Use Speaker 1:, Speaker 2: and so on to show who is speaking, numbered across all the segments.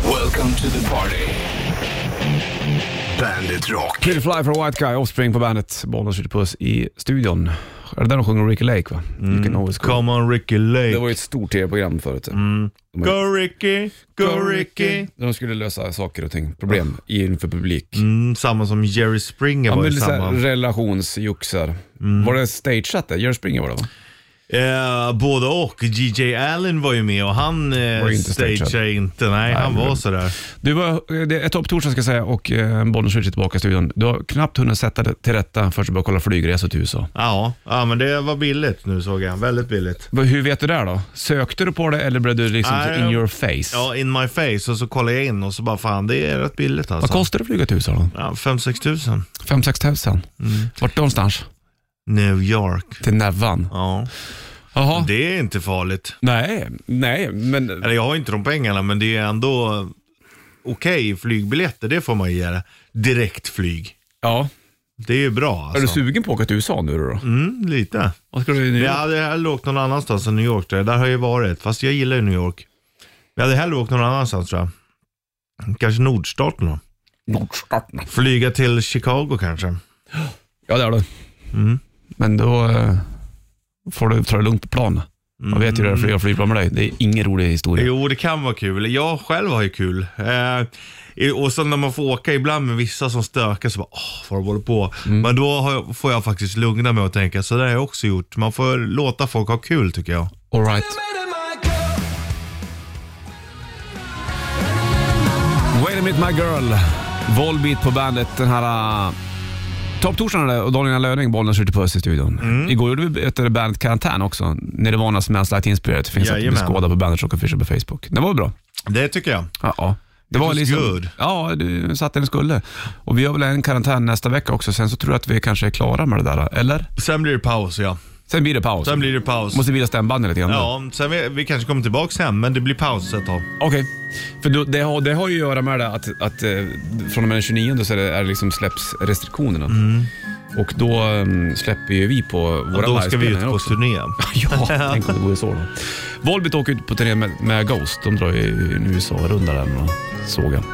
Speaker 1: Welcome to the party. Bandit Rock.
Speaker 2: Pretty Fly for a White Guy, Offspring på bandet. Bollnäs skjuter puss i studion. Är det där de sjunger Ricky Lake va? You can always go.
Speaker 3: Mm. Come on Ricky
Speaker 2: Det
Speaker 3: Lake.
Speaker 2: var ju ett stort tv-program förut. Mm.
Speaker 3: Go Ricky, go Ricky.
Speaker 2: De skulle lösa saker och ting, problem inför publik.
Speaker 3: Mm, samma som Jerry Springer
Speaker 2: Ja,
Speaker 3: var
Speaker 2: men
Speaker 3: ju
Speaker 2: lite så här
Speaker 3: samma. Mm.
Speaker 2: relationsjuxar. Var det stageat det? Jerry Springer var det va?
Speaker 3: Eh, både och. DJ Allen var ju med och han
Speaker 2: Var
Speaker 3: eh,
Speaker 2: inte stagead.
Speaker 3: stageade inte. Nej, han
Speaker 2: men-
Speaker 3: var sådär.
Speaker 2: Du var, det är topptorsdag ska jag säga och eh, Bollnäs skjuter tillbaka i studion. Du har knappt hunnit sätta det till rätta förrän du började kolla flygresor till USA.
Speaker 3: Ja, ja, men det var billigt nu såg jag. Väldigt billigt.
Speaker 2: Vad- Hur vet du det här då? Sökte du på det eller blev du liksom
Speaker 3: Nej,
Speaker 2: så in
Speaker 3: jag-
Speaker 2: your face?
Speaker 3: Ja, in my face och så kollade jag in och så bara fan det är rätt billigt
Speaker 2: Vad
Speaker 3: alltså.
Speaker 2: kostar det att flyga till USA då?
Speaker 3: Ja, 5-6 tusen.
Speaker 2: 5-6 tusen?
Speaker 3: Mm.
Speaker 2: Vart någonstans?
Speaker 3: New York.
Speaker 2: Till Nävan?
Speaker 3: Ja,
Speaker 2: Jaha.
Speaker 3: det är inte farligt.
Speaker 2: Nej, nej, men
Speaker 3: Eller jag har inte de pengarna men det är ändå okej flygbiljetter, det får man ju ge det. Direktflyg.
Speaker 2: ja.
Speaker 3: Det är ju bra
Speaker 2: Är du
Speaker 3: alltså.
Speaker 2: sugen på att åka till USA nu då?
Speaker 3: Mm, lite.
Speaker 2: Vad ska du nu?
Speaker 3: Jag hade hellre åkt någon annanstans än New York tror jag. Där har jag ju varit, fast jag gillar ju New York. Jag hade hellre åkt någon annanstans tror jag. Kanske nordstaten då.
Speaker 2: Nordstaten.
Speaker 3: Flyga till Chicago kanske.
Speaker 2: Ja, det har du.
Speaker 3: Mm.
Speaker 2: Men då eh, får du ta det lugnt på plan. Man vet ju hur det är att flyga flygplan med dig. Det är ingen rolig historia.
Speaker 3: Jo, det kan vara kul. Jag själv har ju kul. Eh, i- och sen när man får åka ibland med vissa som stökar så bara, åh, vad de håller på. Men då har jag, får jag faktiskt lugna mig och tänka, så där har jag också gjort. Man får låta folk ha kul tycker jag.
Speaker 2: All right. Wait a minute my girl. Volbeat på bandet den här... Uh, Topptorsdagen är det och Daniel Löning, Bollnäs skjuter puss i studion.
Speaker 3: Mm.
Speaker 2: Igår gjorde vi ett bandet karantän också. Nirvanas Smells Like Teen Spirit finns att
Speaker 3: Jajamän.
Speaker 2: beskåda på bandet Rock Official på Facebook. Det var bra.
Speaker 3: Det tycker jag.
Speaker 2: Ja, ja. Det var
Speaker 3: was
Speaker 2: liksom,
Speaker 3: good.
Speaker 2: Ja, du satt där den skulle. Och vi har väl en karantän nästa vecka också. Sen så tror jag att vi kanske är klara med det där, eller?
Speaker 3: Sen blir det paus ja.
Speaker 2: Sen blir det paus.
Speaker 3: Sen blir det paus.
Speaker 2: Måste vila stämbanden lite grann. då.
Speaker 3: Ja, sen vi, vi kanske kommer tillbaka sen, men det blir paus ett tag.
Speaker 2: Okej, för då, det, har, det har ju att göra med det att, att eh, från och med den 29 så är det, är det liksom släpps restriktionerna. Och då eh, släpper ju vi på våra
Speaker 3: Och Mm. då ska vi ut
Speaker 2: livespelningar
Speaker 3: på
Speaker 2: också.
Speaker 3: turné.
Speaker 2: Ja, tänk om det vore så då. Volbit åker ut på turné med, med Ghost. De drar ju en USA-runda där, va? såg jag.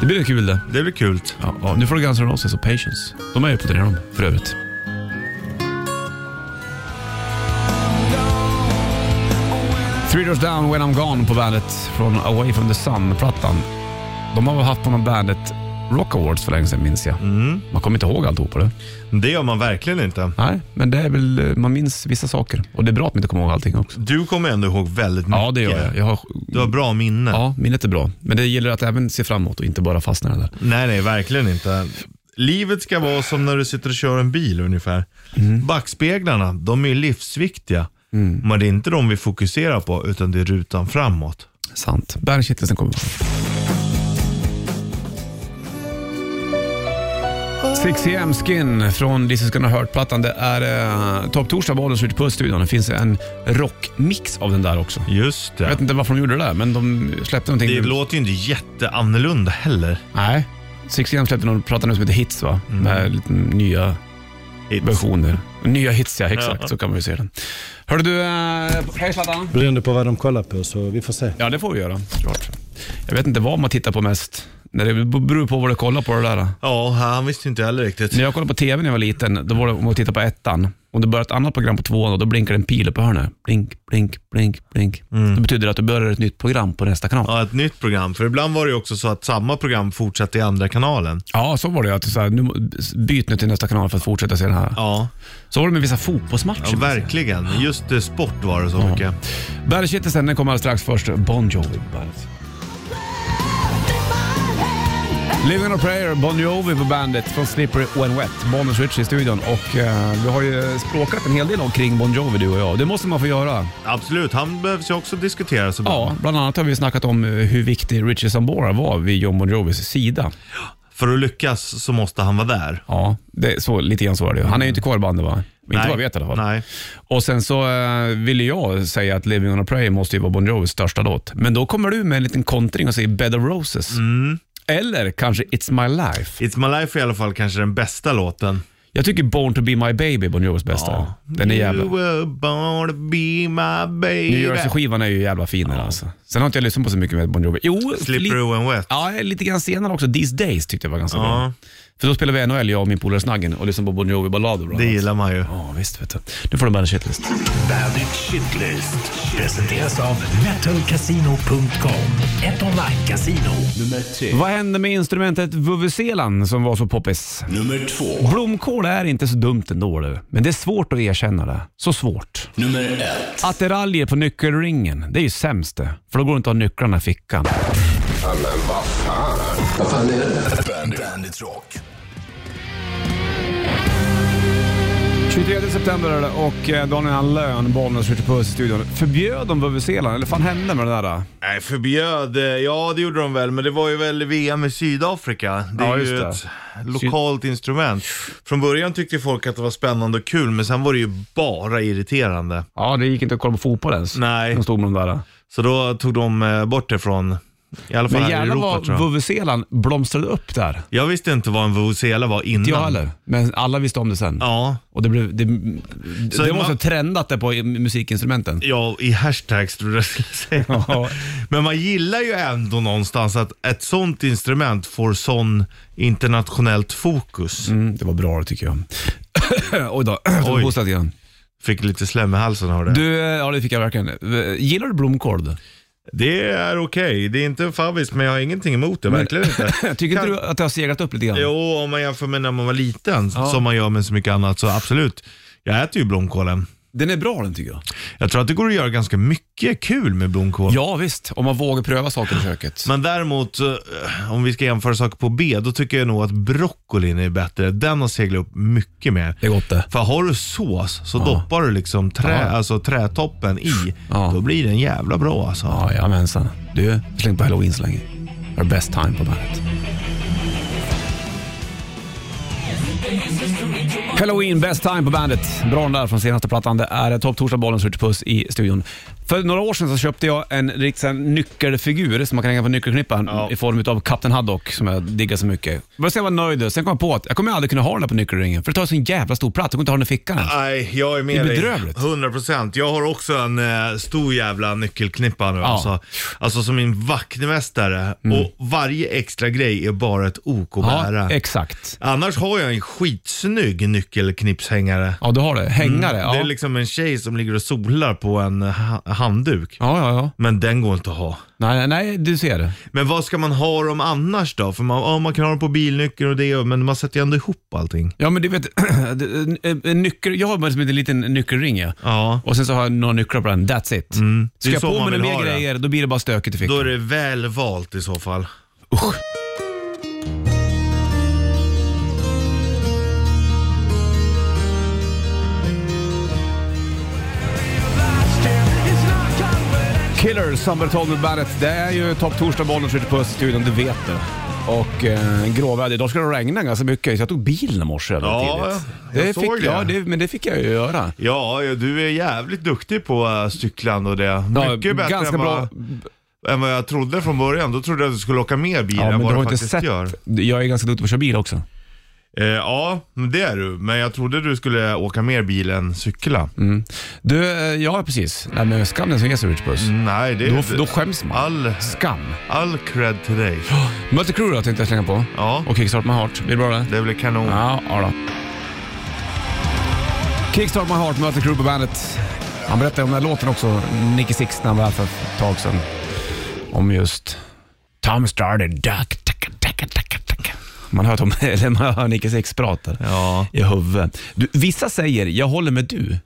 Speaker 2: Det blir kul det.
Speaker 3: Det blir kul.
Speaker 2: Ja, ja. Nu får du Guns N' Roses och Patience. De är ju på turné de, för övrigt. Three Doors Down, When I'm Gone på bandet från Away From The Sun-plattan. De har väl haft på någon bandet Rock Awards för länge sedan minns jag. Man kommer inte ihåg alltihopa det.
Speaker 3: Det gör man verkligen inte.
Speaker 2: Nej, men det är väl, eh, man minns vissa saker. Och det är bra att man inte kommer ihåg allting också.
Speaker 3: Du kommer ändå ihåg väldigt mycket.
Speaker 2: Ja, det gör jag. jag har,
Speaker 3: Du har bra minne.
Speaker 2: ja, minnet är bra. Men det gäller att även se framåt och inte bara fastna i det där.
Speaker 3: Nej, nej, verkligen inte. Livet ska vara som när du sitter och kör en bil ungefär.
Speaker 2: Mm.
Speaker 3: Backspeglarna, de är livsviktiga. Men det är inte de vi fokuserar på, utan det är rutan framåt.
Speaker 2: Sant. Bandkittelsen kommer. Six AM Skin från This is gonna hurt-plattan. Det är eh, Topp Torsdag, Bollens ute på studion. Det finns en rockmix av den där också.
Speaker 3: Just
Speaker 2: Jag
Speaker 3: det.
Speaker 2: vet inte varför de gjorde det där, men de släppte någonting.
Speaker 3: Det låter ju inte jätteannorlunda heller.
Speaker 2: Nej. Six AM släppte någon platta nu som heter Hits va? Med lite nya
Speaker 3: Hits.
Speaker 2: versioner. Nya hits ja, exakt. Så kan man ju se den. Hörde du, eh, hej Zlatan.
Speaker 4: Beroende på vad de kollar på så vi får se.
Speaker 2: Ja, det får vi göra. Klart. Jag vet inte vad man tittar på mest. Nej, Det beror på vad du kollar på det där. då.
Speaker 3: Ja, han visste inte heller riktigt.
Speaker 2: När jag kollade på TV när jag var liten, då var det om man tittade på ettan. Om det började ett annat program på tvåan, och då blinkar det en pil uppe i hörnet. Blink, blink, blink, blink. Det betyder det att det börjar ett nytt program på nästa kanal. Ja,
Speaker 3: Mm. Ja, ett nytt program. För ibland var det ju också så att samma program fortsatte i andra kanalen.
Speaker 2: så var det. ju, Att det så här, nu, byt nu till nästa kanal för att fortsätta se den här.
Speaker 3: Ja,
Speaker 2: Så var det med vissa fotbollsmatcher.
Speaker 3: ja verkligen. Just eh, sport var det så mycket.
Speaker 2: Bergkittelsen, den kommer alldeles strax. Först Bon Jovi på bandet. Living on a prayer, Bon Jovi på bandet från Slippery When Wet. Bon och Switch i studion och eh, vi har ju språkat en hel del omkring Bon Jovi du och jag. Det måste man få göra.
Speaker 3: Absolut, han behövs ju också diskuteras ibland.
Speaker 2: Ja, bland annat har vi snackat om eh, hur viktig Richie Sambora var vid John Bon Jovis sida.
Speaker 3: För att lyckas så måste han vara där.
Speaker 2: Ja, det, så, lite grann så var det ju. Han är ju inte kvar i bandet va? Inte vad jag vet i alla fall.
Speaker 3: Nej.
Speaker 2: Och sen så eh, ville jag säga att Living on a prayer måste ju vara Bon Jovis största låt. Men då kommer du med en liten kontring och säger Bed of
Speaker 3: Mm.
Speaker 2: Roses. Eller kanske It's My Life.
Speaker 3: It's My Life är i alla fall kanske den bästa låten.
Speaker 2: Jag tycker Born to be my baby Bon Jovis bästa. Den är jävla...
Speaker 3: You were born to be my baby.
Speaker 2: New Jersey-skivan är ju jävla fin den alltså. Sen har inte jag lyssnat på så mycket med Bon Jovi. Jo, li-
Speaker 3: Slippery and wet.
Speaker 2: ja, lite grann senare också. These Days tyckte jag var ganska bra. För då spelade vi NHL, jag och min polare Snaggen, och lyssnade på Bon Jovi-ballader bland
Speaker 3: Det
Speaker 2: annat.
Speaker 3: gillar man ju.
Speaker 2: Ja, visst vet du. Nu får du Bandit Shitlist.
Speaker 1: Bandit Shitlist presenteras av metalcasino.com. Ett online-casino.
Speaker 5: Nummer tre.
Speaker 2: Vad hände med instrumentet vuvuzelan som var så poppis?
Speaker 5: Nummer två.
Speaker 2: Blomkål är inte så dumt ändå du, men det är svårt att erkänna det. Så svårt.
Speaker 5: Nummer ett.
Speaker 2: Attiraljer på nyckelringen, det är ju sämst det. För då går det inte att ha nycklarna i fickan.
Speaker 5: Bandit. Bandit Rock.
Speaker 2: 23 september är det och eh, Daniel han lön, Bollnäs, skjuter puss i studion. Förbjöd de vuvuzelan, eller fan hände med det där? Då?
Speaker 3: Nej, förbjöd. eh, Ja, det gjorde de väl, men det var ju väl VM i Sydafrika. Det är
Speaker 2: Ja, just
Speaker 3: ju
Speaker 2: det.
Speaker 3: ett lokalt instrument. Från början tyckte folk att det var spännande och kul, men sen var det ju bara irriterande.
Speaker 2: Ja, det gick inte att kolla på fotboll ens.
Speaker 3: Nej.
Speaker 2: De stod med de där.
Speaker 3: Så då tog de eh, bort det från, i alla fall
Speaker 2: Men
Speaker 3: här i
Speaker 2: jävlar
Speaker 3: Europa tror
Speaker 2: vad
Speaker 3: jag.
Speaker 2: vuvuzelan blomstrade upp där. Inte
Speaker 3: Jag visste inte vad en vuvuzela var innan.
Speaker 2: jag heller, men alla visste om det sen.
Speaker 3: Ja,
Speaker 2: Och det, blev, det,
Speaker 3: Så
Speaker 2: det
Speaker 3: man-
Speaker 2: måste ha trendat det på i- musikinstrumenten.
Speaker 3: Ja, i hashtags tror jag jag skulle säga.
Speaker 2: Ja.
Speaker 3: Men man gillar ju ändå någonstans att ett sånt instrument får sån internationellt fokus.
Speaker 2: Mm, det var bra det tycker jag. Oj då, jag
Speaker 3: Oj.
Speaker 2: tog hostat igen.
Speaker 3: Fick lite slem i halsen av det.
Speaker 2: Du, eh, ja det fick jag verkligen. Eh, Gillar du blomkål? då?
Speaker 3: Det är okej. Det är inte en favvis, men jag har ingenting emot det. Verkligen inte.
Speaker 2: Tycker inte
Speaker 3: Kan-
Speaker 2: du att det har segrat upp lite grann?
Speaker 3: Jo, om man jämför med när man var liten, som man gör med så mycket annat, så absolut. Jag äter ju blomkålen.
Speaker 2: Den är bra den tycker jag.
Speaker 3: Jag tror att det går att göra ganska mycket kul med blomkål.
Speaker 2: Ja visst, om man vågar pröva saker i köket.
Speaker 3: Men däremot, eh, om vi ska jämföra saker på B, då tycker jag nog att broccolin är bättre. Den har seglat upp mycket mer.
Speaker 2: Det är gott det.
Speaker 3: För har du sås så doppar du liksom trä, alltså, trätoppen i.
Speaker 2: Ja.
Speaker 3: Då blir den jävla bra alltså.
Speaker 2: Ja, jajamensan. Du, släng på halloween så länge. Har best time på bandet. Halloween, best time på bandet. Bra den där från senaste plattan. Det är Topp Torsdag, bollen skjuter puss i studion. För några år sedan så köpte jag en riktig sån här nyckelfigur som man kan hänga på nyckelknippan i form av Captain Haddock som jag diggar så mycket. Men sen var jag nöjd. Sen kom jag på att jag kommer aldrig kunna ha den där på nyckelringen för det tar så en jävla stor plats. Jag kommer inte ha den i fickan ens.
Speaker 3: Nej, jag är med
Speaker 2: Det är
Speaker 3: dig.
Speaker 2: bedrövligt.
Speaker 3: 100 procent. Jag har också en eh, stor jävla nyckelknippa nu.
Speaker 2: Ja. Mm.
Speaker 3: Alltså. alltså som min vaktmästare. Och varje extra grej är bara ett ok att
Speaker 2: Ja,
Speaker 3: bära.
Speaker 2: exakt.
Speaker 3: Annars har jag en skitsnygg nyckelknipshängare.
Speaker 2: Ja, du har det. Hängare.
Speaker 3: Det
Speaker 2: Ja.
Speaker 3: är liksom en tjej som ligger och solar på en ha- handduk.
Speaker 2: ja, ja, ja.
Speaker 3: Men den går inte att ha.
Speaker 2: Nej, nej, du ser det.
Speaker 3: Men vad ska man ha dem annars då? För man, ja, man kan ha dem på bilnyckeln och det, men man sätter ju ändå ihop allting.
Speaker 2: Ja, men du vet, det- en- en nyckel, jag har bara som en liten nyckelring. Ja.
Speaker 3: Ja.
Speaker 2: Och sen så har jag några nycklar på den, that's it. Ska
Speaker 3: är
Speaker 2: jag
Speaker 3: så
Speaker 2: på
Speaker 3: man
Speaker 2: med några mer
Speaker 3: vill ha det.
Speaker 2: grejer, då blir det bara stökigt i
Speaker 3: Då
Speaker 2: fickan.
Speaker 3: är det väl valt i så fall.
Speaker 2: Usch. Killer, Summer Told med Bandet. Det är ju topp torsdag, bollen skjuter på studion, du vet det. Och eh, gråväder. Idag ska det regna ganska mycket, så jag tog bilen i morse. eller
Speaker 3: Ja,
Speaker 2: tidigt.
Speaker 3: jag
Speaker 2: det
Speaker 3: såg
Speaker 2: fick,
Speaker 3: det.
Speaker 2: Ja, det, men det fick jag ju göra.
Speaker 3: Ja, ja, du är jävligt duktig på äh, cyklande och det.
Speaker 2: Ja,
Speaker 3: Mycket bättre
Speaker 2: ganska
Speaker 3: än,
Speaker 2: bra.
Speaker 3: Vad, än vad jag trodde från början. Då trodde jag att du skulle åka mer bil
Speaker 2: Ja,
Speaker 3: än
Speaker 2: men du
Speaker 3: vad
Speaker 2: har inte
Speaker 3: du faktiskt
Speaker 2: sett.
Speaker 3: gör.
Speaker 2: Jag är ganska duktig på att köra bil också.
Speaker 3: Eh, ja, men det är du. Men jag trodde du skulle åka mer bil än cykla.
Speaker 2: Mm. Du, eh, ja precis. Nej, men skam den som ger sig Rich Puss.
Speaker 3: Nej, det
Speaker 2: Då, då skäms man.
Speaker 3: all,
Speaker 2: Skam.
Speaker 3: all cred till dig.
Speaker 2: Mötte Crew då tänkte jag slänga på.
Speaker 3: Ja.
Speaker 2: Och Kickstart My Heart. Blir det bra det?
Speaker 3: Det blir kanon.
Speaker 2: Ja, ja då. Kickstart My Heart, möter Crew på bandet. Han berättade om den här låten också, Nicky Six, när han var här för ett tag sedan. Om just Tom started duck, duck, duck, duck, duck. Man hör, Tom, eller man hör Nicky Six prata
Speaker 3: Ja.
Speaker 2: i huvudet. Du, vissa säger, jag håller med du.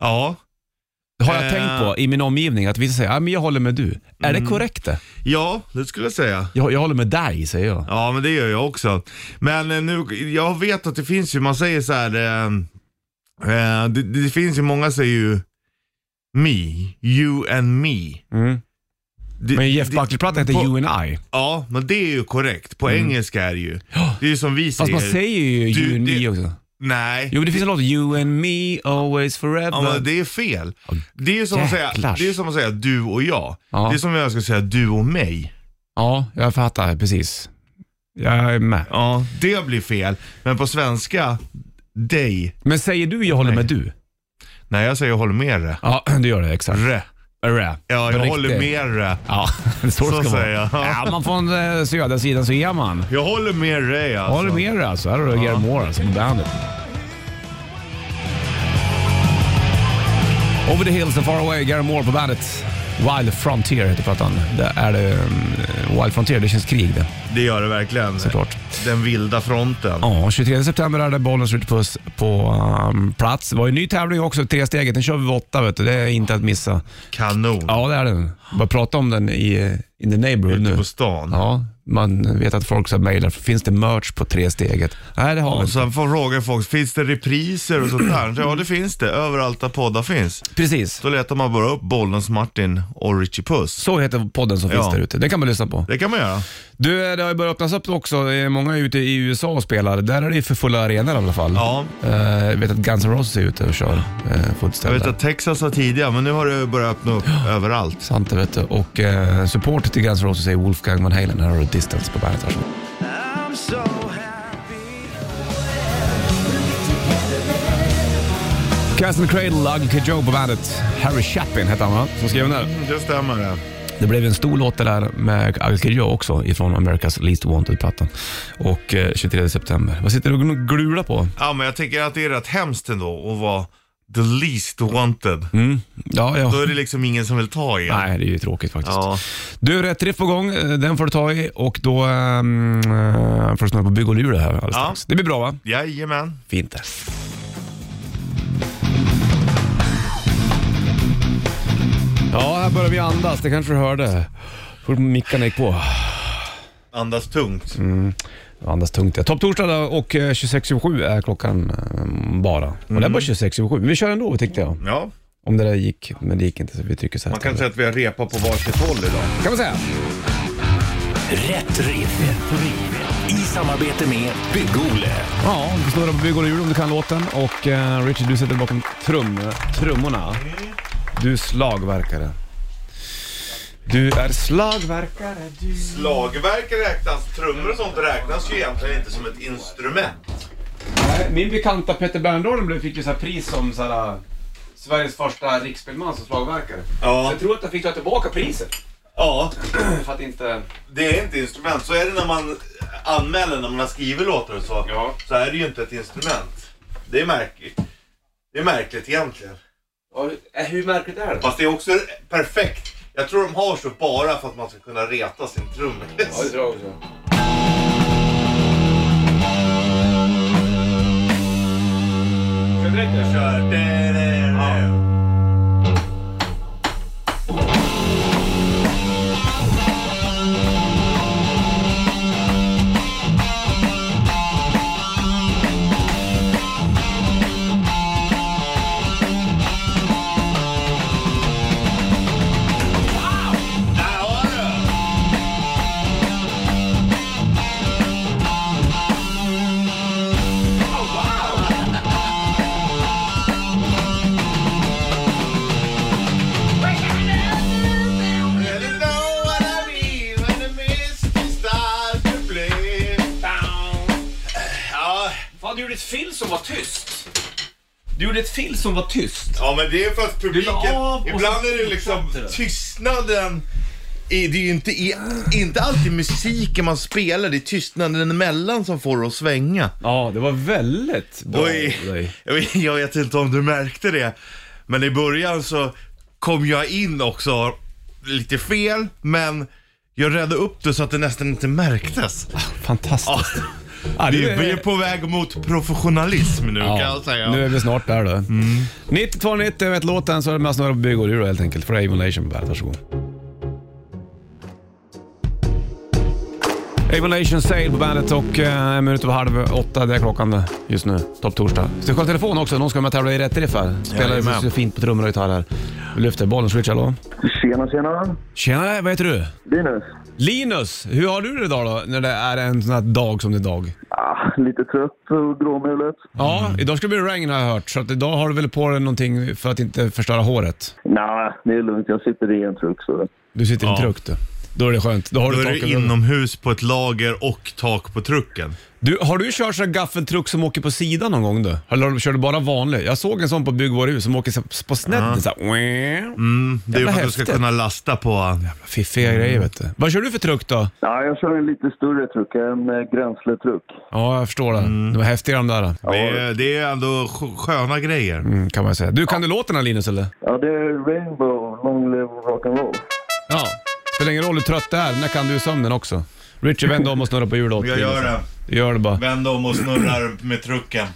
Speaker 3: ja.
Speaker 2: har jag
Speaker 3: Eh.
Speaker 2: tänkt på i min omgivning att vissa säger ja, men jag håller med du. Är det korrekt det?
Speaker 3: Ja, det skulle jag säga.
Speaker 2: Jag, jag håller med dig, säger jag.
Speaker 3: Ja, men det gör jag också. Men eh, nu, jag vet att det finns ju, man säger så här, eh, eh, det, det finns ju många säger ju me, you and me.
Speaker 2: Mm.
Speaker 3: Det-
Speaker 2: Men Jeff
Speaker 3: det-
Speaker 2: Buckley-plattan heter
Speaker 3: på-
Speaker 2: You and I.
Speaker 3: Ja, men det är ju korrekt. På engelska är det ju. Det är ju som vi säger.
Speaker 2: Fast man säger ju
Speaker 3: Du,
Speaker 2: You and
Speaker 3: det-
Speaker 2: Me också.
Speaker 3: Nej.
Speaker 2: Jo, men det finns en låt, You and Me, Always Forever.
Speaker 3: Ja, men det är fel. Det är ju som, att säga,
Speaker 2: Jäklar.
Speaker 3: det är som att säga du och jag.
Speaker 2: Ja.
Speaker 3: Det är som om jag skulle säga du och mig.
Speaker 2: Ja, jag fattar precis. Jag är med.
Speaker 3: Ja, det blir fel. Men på svenska, dig.
Speaker 2: Men säger du jag håller med du?
Speaker 3: Nej, jag säger jag håller med dig.
Speaker 2: Ja, du gör det. Exakt.
Speaker 3: Re.
Speaker 2: Rä.
Speaker 3: Ja, jag
Speaker 2: Riktigt.
Speaker 3: håller med dig.
Speaker 2: Ja, så,
Speaker 3: Så
Speaker 2: det ska
Speaker 3: säger
Speaker 2: vara.
Speaker 3: jag.
Speaker 2: Ja, man från eh, södra sidan så är man.
Speaker 3: Jag håller med dig alltså.
Speaker 2: Håller med dig alltså. Här har du Gary Moore alltså, med bandet. Over the hills and far away, Gary Moore på bandet. Wild Frontier heter plattan. Det är det, um, Wild Frontier, det känns krig det.
Speaker 3: Det gör det verkligen.
Speaker 2: Såklart.
Speaker 3: Den vilda fronten.
Speaker 2: Ja, 23 september är det Bollnäs Ritterpuss på um, plats. Det var ju en ny tävling också, tre steget. Den kör vi vid åtta, vet du. det är inte att missa.
Speaker 3: Kanon.
Speaker 2: Ja, det är den. Bara prata om den i in the neighborhood
Speaker 3: Ute
Speaker 2: nu.
Speaker 3: på stan.
Speaker 2: Ja, man vet att folk så mejlar, finns det merch på tre steget? Nej, det har vi
Speaker 3: Och
Speaker 2: inte.
Speaker 3: sen får fråga folk, finns det repriser och sånt där? Ja, det finns det. Överallt där poddar finns.
Speaker 2: Precis.
Speaker 3: Då letar man bara upp Bollens Martin och Richie Puss.
Speaker 2: Så heter podden som finns
Speaker 3: Ja.
Speaker 2: där ute. Den kan man lyssna på.
Speaker 3: Det kan man göra.
Speaker 2: Du, eh, det har ju börjat öppnas upp också. Det är Många är ute i USA och spelar. Där är det ju för fulla arenor i alla fall.
Speaker 3: Ja.
Speaker 2: Eh, Jag vet att Guns N' Roses är ute och kör eh, fullt
Speaker 3: Jag
Speaker 2: ställe.
Speaker 3: vet att Texas var tidiga, men nu har det börjat öppna upp överallt.
Speaker 2: Sant det vet du. Och eh, supporter till Guns N' Roses är Wolfgang Van Halen. Här har du Distance på bandet. Varsågod. Cast and Cradle, Ugg Joe på bandet. Harry Chapin hette han va? Som skrev den där.
Speaker 3: Det stämmer det.
Speaker 2: Det blev en stor låt det där med Alker Joe också ifrån America's Least Wanted-plattan. Och eh, 23 september. Vad sitter du och glular på?
Speaker 3: Ja, men jag tänker att det är rätt hemskt ändå att vara the least wanted.
Speaker 2: Ja,
Speaker 3: Då
Speaker 2: ja.
Speaker 3: är det liksom ingen som vill ta i en.
Speaker 2: Mm. Nej, det är ju tråkigt faktiskt.
Speaker 3: Ja.
Speaker 2: Du, rätt riff på gång. Eh, Den får du ta i och då ehm, eh, får du snurra på bygg och lur här alldeles
Speaker 3: Ja.
Speaker 2: strax. Det blir bra va?
Speaker 3: Jajamän.
Speaker 2: Fint det. Ja, här börjar vi andas. Det kanske du hörde. Fort mickarna gick på.
Speaker 3: Andas tungt.
Speaker 2: Andas tungt ja. Topp torsdag då och eh, 26.27 är klockan eh, bara. Och det är bara 26.27. Men vi kör ändå tänkte jag.
Speaker 3: Ja,
Speaker 2: Om det där gick, men det gick inte så vi trycker så här.
Speaker 3: man kan säga att vi har repat på varsitt håll idag.
Speaker 2: kan man säga.
Speaker 1: Rätt riff. I samarbete med Bygg-Ole.
Speaker 2: Ja, du står där på Bygg och Hjul om du kan låten. Och eh, Richard, du sitter bakom trum, trummorna. Du är slagverkare. Du är slagverkare.
Speaker 3: Slagverk räknas, trummor och sånt räknas ju egentligen inte som ett instrument.
Speaker 2: Nej, Min bekanta Peter Berndalen blev- fick ju så här pris som så här, äh, Sveriges första riksspelman som slagverkare.
Speaker 3: Ja.
Speaker 2: Så Jag tror att han fick ta tillbaka priset.
Speaker 3: Ja,
Speaker 2: För att inte...
Speaker 3: det är inte instrument. Så är det när man anmäler, när man har skrivit låtar och så.
Speaker 2: Ja.
Speaker 3: Så är det ju inte ett instrument. Det är märkligt. Det är märkligt egentligen.
Speaker 2: Ja, Hur märkligt är det?
Speaker 3: Fast det är också perfekt. Jag tror de har så bara för att man ska kunna reta sin trummis.
Speaker 2: tror jag också.
Speaker 3: Kör.
Speaker 2: Fan, du gjorde ett fill som var tyst. Du gjorde ett fill som var tyst.
Speaker 3: Ja men det är för att publiken,
Speaker 2: Du la av och
Speaker 3: ibland
Speaker 2: så
Speaker 3: är det liksom
Speaker 2: fortsatte det.
Speaker 3: tystnaden i- det är ju inte, i- inte alltid musiken man spelar, det är tystnaden emellan som får det att svänga.
Speaker 2: Ja, det var väldigt bra
Speaker 3: Oj.
Speaker 2: av dig.
Speaker 3: Jag vet- Jag vet inte om du märkte det, men i början så kom jag in också lite fel, men jag räddade upp det så att det nästan inte märktes.
Speaker 2: Fantastiskt.
Speaker 3: Ja,
Speaker 2: Ja,
Speaker 3: vi
Speaker 2: det-
Speaker 3: vi är på väg mot professionalism nu kan jag säga.
Speaker 2: Nu är vi snart där då. 9290, jag vet låten, så är det med att snurra på bygg och lur helt enkelt. För det är Avon Nation på bandet, varsågod. Avon Nation Sale på bandet och eh, en minut över halv åtta, det är klockan det, just nu. Topp torsdag. Ska kolla telefon också, någon ska med och tävla i rätt riff här. Spelar ju
Speaker 3: Jajamän.
Speaker 2: så fint på trummor och gitarr här. Vi lyfter bollen, switch, hallå.
Speaker 6: Tjena, tjena.
Speaker 2: Tjenare, vad heter du?
Speaker 6: Linus.
Speaker 2: Linus, hur har du det idag då? När det är en sån här dag som det är idag?
Speaker 6: Ah, lite trött och gråmulet.
Speaker 2: Ja, idag ska det bli regn har jag hört. Så att idag har du väl på dig någonting för att inte förstöra håret?
Speaker 6: Nej, det är lugnt. Jag sitter i en truck. Så.
Speaker 2: Du sitter i en
Speaker 3: Ja.
Speaker 2: truck du. Då är det skönt. Då har
Speaker 3: Då
Speaker 2: du
Speaker 3: är
Speaker 2: taket
Speaker 3: du
Speaker 2: över.
Speaker 3: inomhus på ett lager och tak på trucken.
Speaker 2: Du, har du kört sån här gaffeltruck som åker på sidan någon gång då? Eller har du- kör du bara vanlig? Jag såg en sån på byggvaruhus som åker så- på snedden så här.
Speaker 3: Mm, det är ju
Speaker 2: Jävla
Speaker 3: för att du ska
Speaker 2: häftigt.
Speaker 3: kunna lasta på...
Speaker 2: Fiffiga
Speaker 3: Mm.
Speaker 2: grejer vet du. Vad kör du för truck då?
Speaker 6: Ja, jag kör en lite större truck, en eh, grensletruck.
Speaker 2: Ja, jag förstår det.
Speaker 3: Mm.
Speaker 2: De är häftiga de där.
Speaker 3: Det är, det är ändå sk- sköna grejer.
Speaker 2: Mm, kan man säga. Du, kan du låtarna Linus eller?
Speaker 6: Ja, det är Rainbow, Long Live Rock'n'Roll.
Speaker 2: Ja. Spelar ingen roll hur trött du är, när kan du sömnen också? Richie, vänd om och snurra på hjulet åt
Speaker 3: Jag
Speaker 2: Linus.
Speaker 3: gör det.
Speaker 2: Gör det bara.
Speaker 3: Vänd om och snurrar med trucken.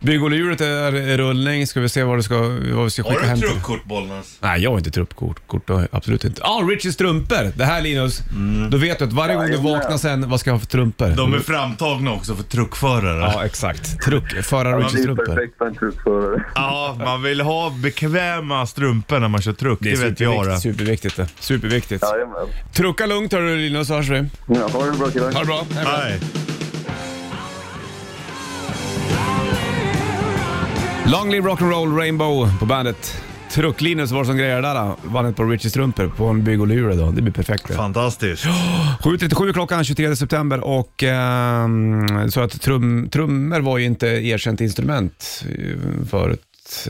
Speaker 2: Byggoljehjulet är i rullning. Ska vi se vad, du ska, vad vi ska skicka
Speaker 3: Har
Speaker 2: hem
Speaker 3: du
Speaker 2: till-
Speaker 3: truckkort Bollnäs?
Speaker 2: Nej, jag har inte truppkort. Kort, har jag absolut inte. Ah, Richies strumpor! Det här Linus, då vet du att varje gång du vaknar sen, vad ska jag ha för trumpor?
Speaker 3: De är framtagna också för truckförare.
Speaker 2: Ja, exakt. Truck, föra
Speaker 6: Det
Speaker 2: Richies
Speaker 6: är
Speaker 2: strumpor.
Speaker 6: perfekt för en truckförare.
Speaker 3: Ja, man vill ha bekväma strumpor när man kör truck. Det, vet jag det.
Speaker 2: superviktigt det. Superviktigt.
Speaker 6: Jajamän.
Speaker 2: Trucka lugnt hörru Linus, så hörs vi.
Speaker 6: Ja, ha det bra killar.
Speaker 2: Ha det bra.
Speaker 3: Nej.
Speaker 2: Long live rock'n'roll Rainbow på bandet. Truck-Linus var det som grejade där. då. Vann på Richies strumpor på en byggoljehjul idag. Det blir perfekt det.
Speaker 3: Fantastiskt.
Speaker 2: 7.37 klockan 23 september och ehm, så att trum, trummor var ju inte erkänt instrument eh, förut.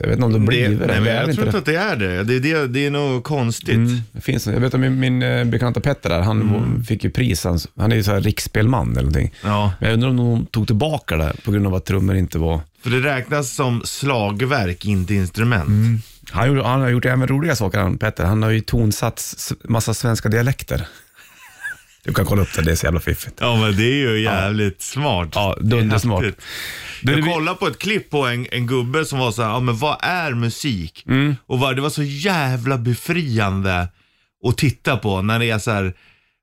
Speaker 2: Jag vet inte om det
Speaker 3: Det,
Speaker 2: blivit det.
Speaker 3: nej, men
Speaker 2: det är
Speaker 3: jag
Speaker 2: inte Mm.
Speaker 3: tror inte
Speaker 2: det.
Speaker 3: att det är det. Det, det, det är nog konstigt.
Speaker 2: Det finns, jag vet att min, min eh, bekanta Petter där, han fick ju pris. Han, han är ju så här riksspelman eller någonting.
Speaker 3: Mm. Ja.
Speaker 2: Men jag undrar om de tog tillbaka det på grund av att trummor inte var...
Speaker 3: För det räknas som slagverk, inte instrument.
Speaker 2: Han, gjorde, han har gjort även roliga saker, han, Petter. Han har ju tonsatt s- massa svenska dialekter. Du kan kolla upp det, det är så jävla fiffigt.
Speaker 3: Ja, men det är ju jävligt smart.
Speaker 2: Ja, dundersmart.
Speaker 3: Det är häftigt.
Speaker 2: Du,
Speaker 3: Jag
Speaker 2: det-
Speaker 3: kollade på ett klipp på en, en gubbe som var så här, ja men vad är musik? Och vad, det var så jävla befriande att titta på när det är så här,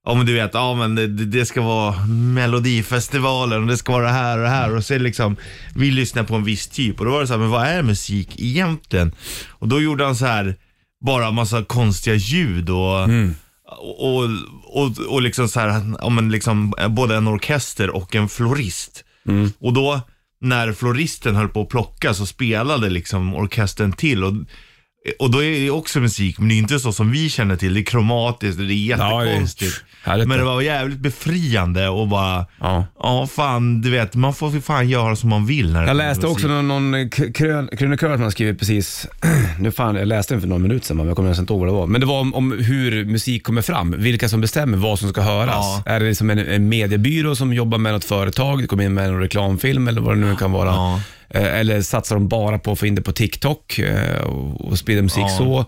Speaker 3: ja men du vet, ja men det, det ska vara melodifestivalen och det ska vara det här och det här och så är det liksom, vi lyssnar på en viss typ och då var det så här, men vad är musik egentligen? Och då gjorde han så här, bara massa konstiga ljud och Och, och, och liksom så här, ja, men liksom, både en orkester och en florist.
Speaker 2: Mm.
Speaker 3: Och då när floristen höll på att plocka så spelade liksom orkestern till. Och, och då är det också musik, men det är inte så som vi känner till. Det är kromatiskt och det är
Speaker 2: Ja, det är
Speaker 3: jättekonstigt.
Speaker 2: härligt.
Speaker 3: men det var jävligt befriande och bara,
Speaker 2: Ja.
Speaker 3: ja. fan du vet, man får för fan göra som man vill. När
Speaker 2: Jag
Speaker 3: det kommer till
Speaker 2: läste också
Speaker 3: musik.
Speaker 2: någon, någon k- krön, krönikör som han skrivit precis, nu fan, jag läste den för någon minut sedan men jag kommer nästan inte ihåg vad det var. Men det var om, om hur musik kommer fram, vilka som bestämmer vad som ska höras.
Speaker 3: Ja.
Speaker 2: Är det liksom en, en mediebyrå som jobbar med något företag, det kommer in med en reklamfilm eller vad det nu kan vara.
Speaker 3: Ja.
Speaker 2: Eh, Eller satsar de bara på att få in det på TikTok eh, och, och sprida musik
Speaker 3: Ja.
Speaker 2: så.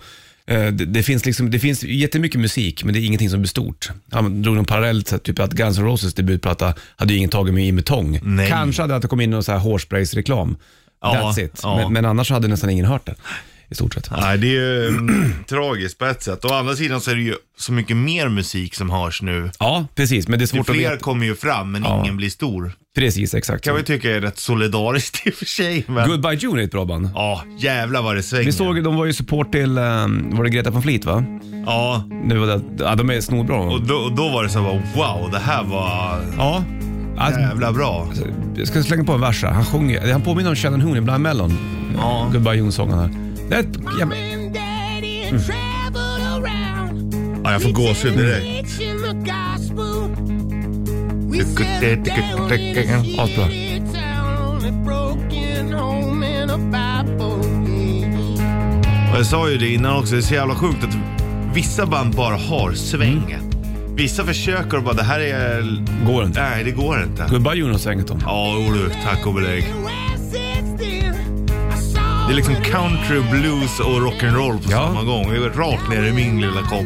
Speaker 2: Eh, Det, det, finns liksom, det finns jättemycket musik, men det är ingenting som blir stort. Han drog någon parallell, så här, typ att Guns N' Roses debutplatta hade ju ingen tagit med Jimmy Tång.
Speaker 3: Nej.
Speaker 2: Kanske hade att det kom in någon så här hårspraysreklam.
Speaker 3: Ja,
Speaker 2: That's it.
Speaker 3: ja.
Speaker 2: Men, men annars hade nästan ingen hört den. I stort sett.
Speaker 3: Nej, det är ju mm, tragiskt på ett sätt. Å andra sidan så är det ju så mycket mer musik som hörs nu.
Speaker 2: Ja, precis. Men det är
Speaker 3: Det är
Speaker 2: svårt att
Speaker 3: fler
Speaker 2: veta.
Speaker 3: kommer ju fram, men
Speaker 2: Ja.
Speaker 3: ingen blir stor.
Speaker 2: Precis, exakt.
Speaker 3: kan
Speaker 2: så.
Speaker 3: vi tycka är rätt solidariskt i och för sig. Men...
Speaker 2: Goodbye June är ett bra band.
Speaker 3: Ja, jävlar vad det svänger.
Speaker 2: Vi såg, de var ju support till, ehm, var det Greta von Fleet va?
Speaker 3: Ja,
Speaker 2: Nu var det, ja, de är snorbra.
Speaker 3: och då, och då var det så här bara, wow, det här var
Speaker 2: ja. Alltså,
Speaker 3: jävla bra.
Speaker 2: Jag ska slänga på en vers här. Han sjunger, han påminner om Shannon Hoon i Blind Melon.
Speaker 3: Ja.
Speaker 2: Goodbye June-sången här. Det är ett, ja, men-
Speaker 3: Ja, jag får gåshud direkt.
Speaker 2: Asbra.
Speaker 3: Och jag sa ju det innan också, det är så jävla sjukt att vissa band bara har svänget.
Speaker 2: Mm.
Speaker 3: Vissa försöker och bara, det här är...
Speaker 2: går inte.
Speaker 3: Nej, det går inte.
Speaker 2: Goodbye June har svängt om.
Speaker 3: Ja, jo du, tack och belägg. Det är liksom country, blues och rock'n'roll på
Speaker 2: Ja.
Speaker 3: samma gång. Det är rakt ner i min lilla kopp.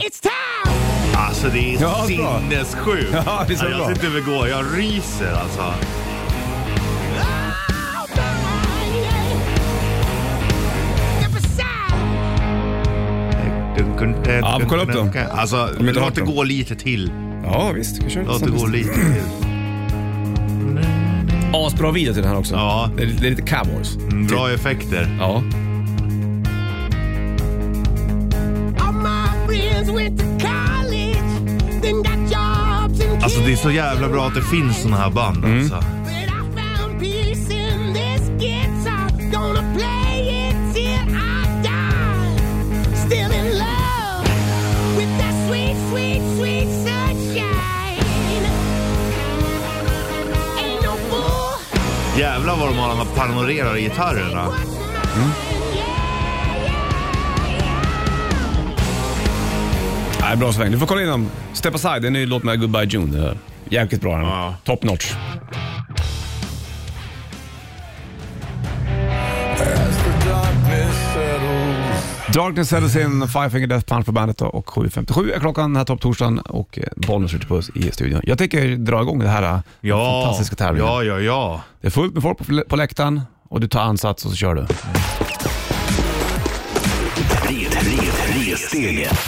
Speaker 7: It's time!
Speaker 3: Alltså det är
Speaker 2: Ja, bra.
Speaker 3: sinnessjukt.
Speaker 2: Ja, det är så
Speaker 3: Ja, jag
Speaker 2: bra.
Speaker 3: sitter över gå, jag ryser alltså.
Speaker 2: Ja, men kolla upp dem.
Speaker 3: Alltså,
Speaker 2: Om inte hört
Speaker 3: låt det
Speaker 2: dem.
Speaker 3: gå lite till.
Speaker 2: Ja visst, vi kör
Speaker 3: Låt det gå lite till.
Speaker 2: Asbra video till den här också.
Speaker 3: Ja.
Speaker 2: Det är, det är lite cowboys.
Speaker 3: Mm, Bra effekter.
Speaker 2: Ja.
Speaker 7: All my friends went to college, then got jobs and
Speaker 3: Alltså det är
Speaker 7: kids.
Speaker 3: så jävla bra att det finns såna här band
Speaker 2: Mm.
Speaker 3: alltså.
Speaker 7: But I found peace in this guitar. Gonna play it till I die. Still in love with that sweet, sweet, sweet sunshine. Ain't no fool.
Speaker 3: Jävlar vad de har panorerar gitarrerna.
Speaker 7: What's mine? Yeah, yeah, yeah.
Speaker 2: Nej, bra sväng. Du får kolla in dem. Step Aside, det är en ny låt med Goodbye June. Det är Jäkligt bra den.
Speaker 3: Ja.
Speaker 2: Top notch. Darkness Settles In, Five Finger Death Punch på bandet då, och 7.57 är klockan den här topptorsdagen och eh, Bollnäs skjuter puss i studion. Jag tänker dra igång det här eh,
Speaker 3: Ja,
Speaker 2: fantastiska tävlingen.
Speaker 3: ja, ja, ja.
Speaker 2: Det är fullt med folk på, på läktaren och du tar ansats och så kör du.
Speaker 1: Tre, tre, tre steget.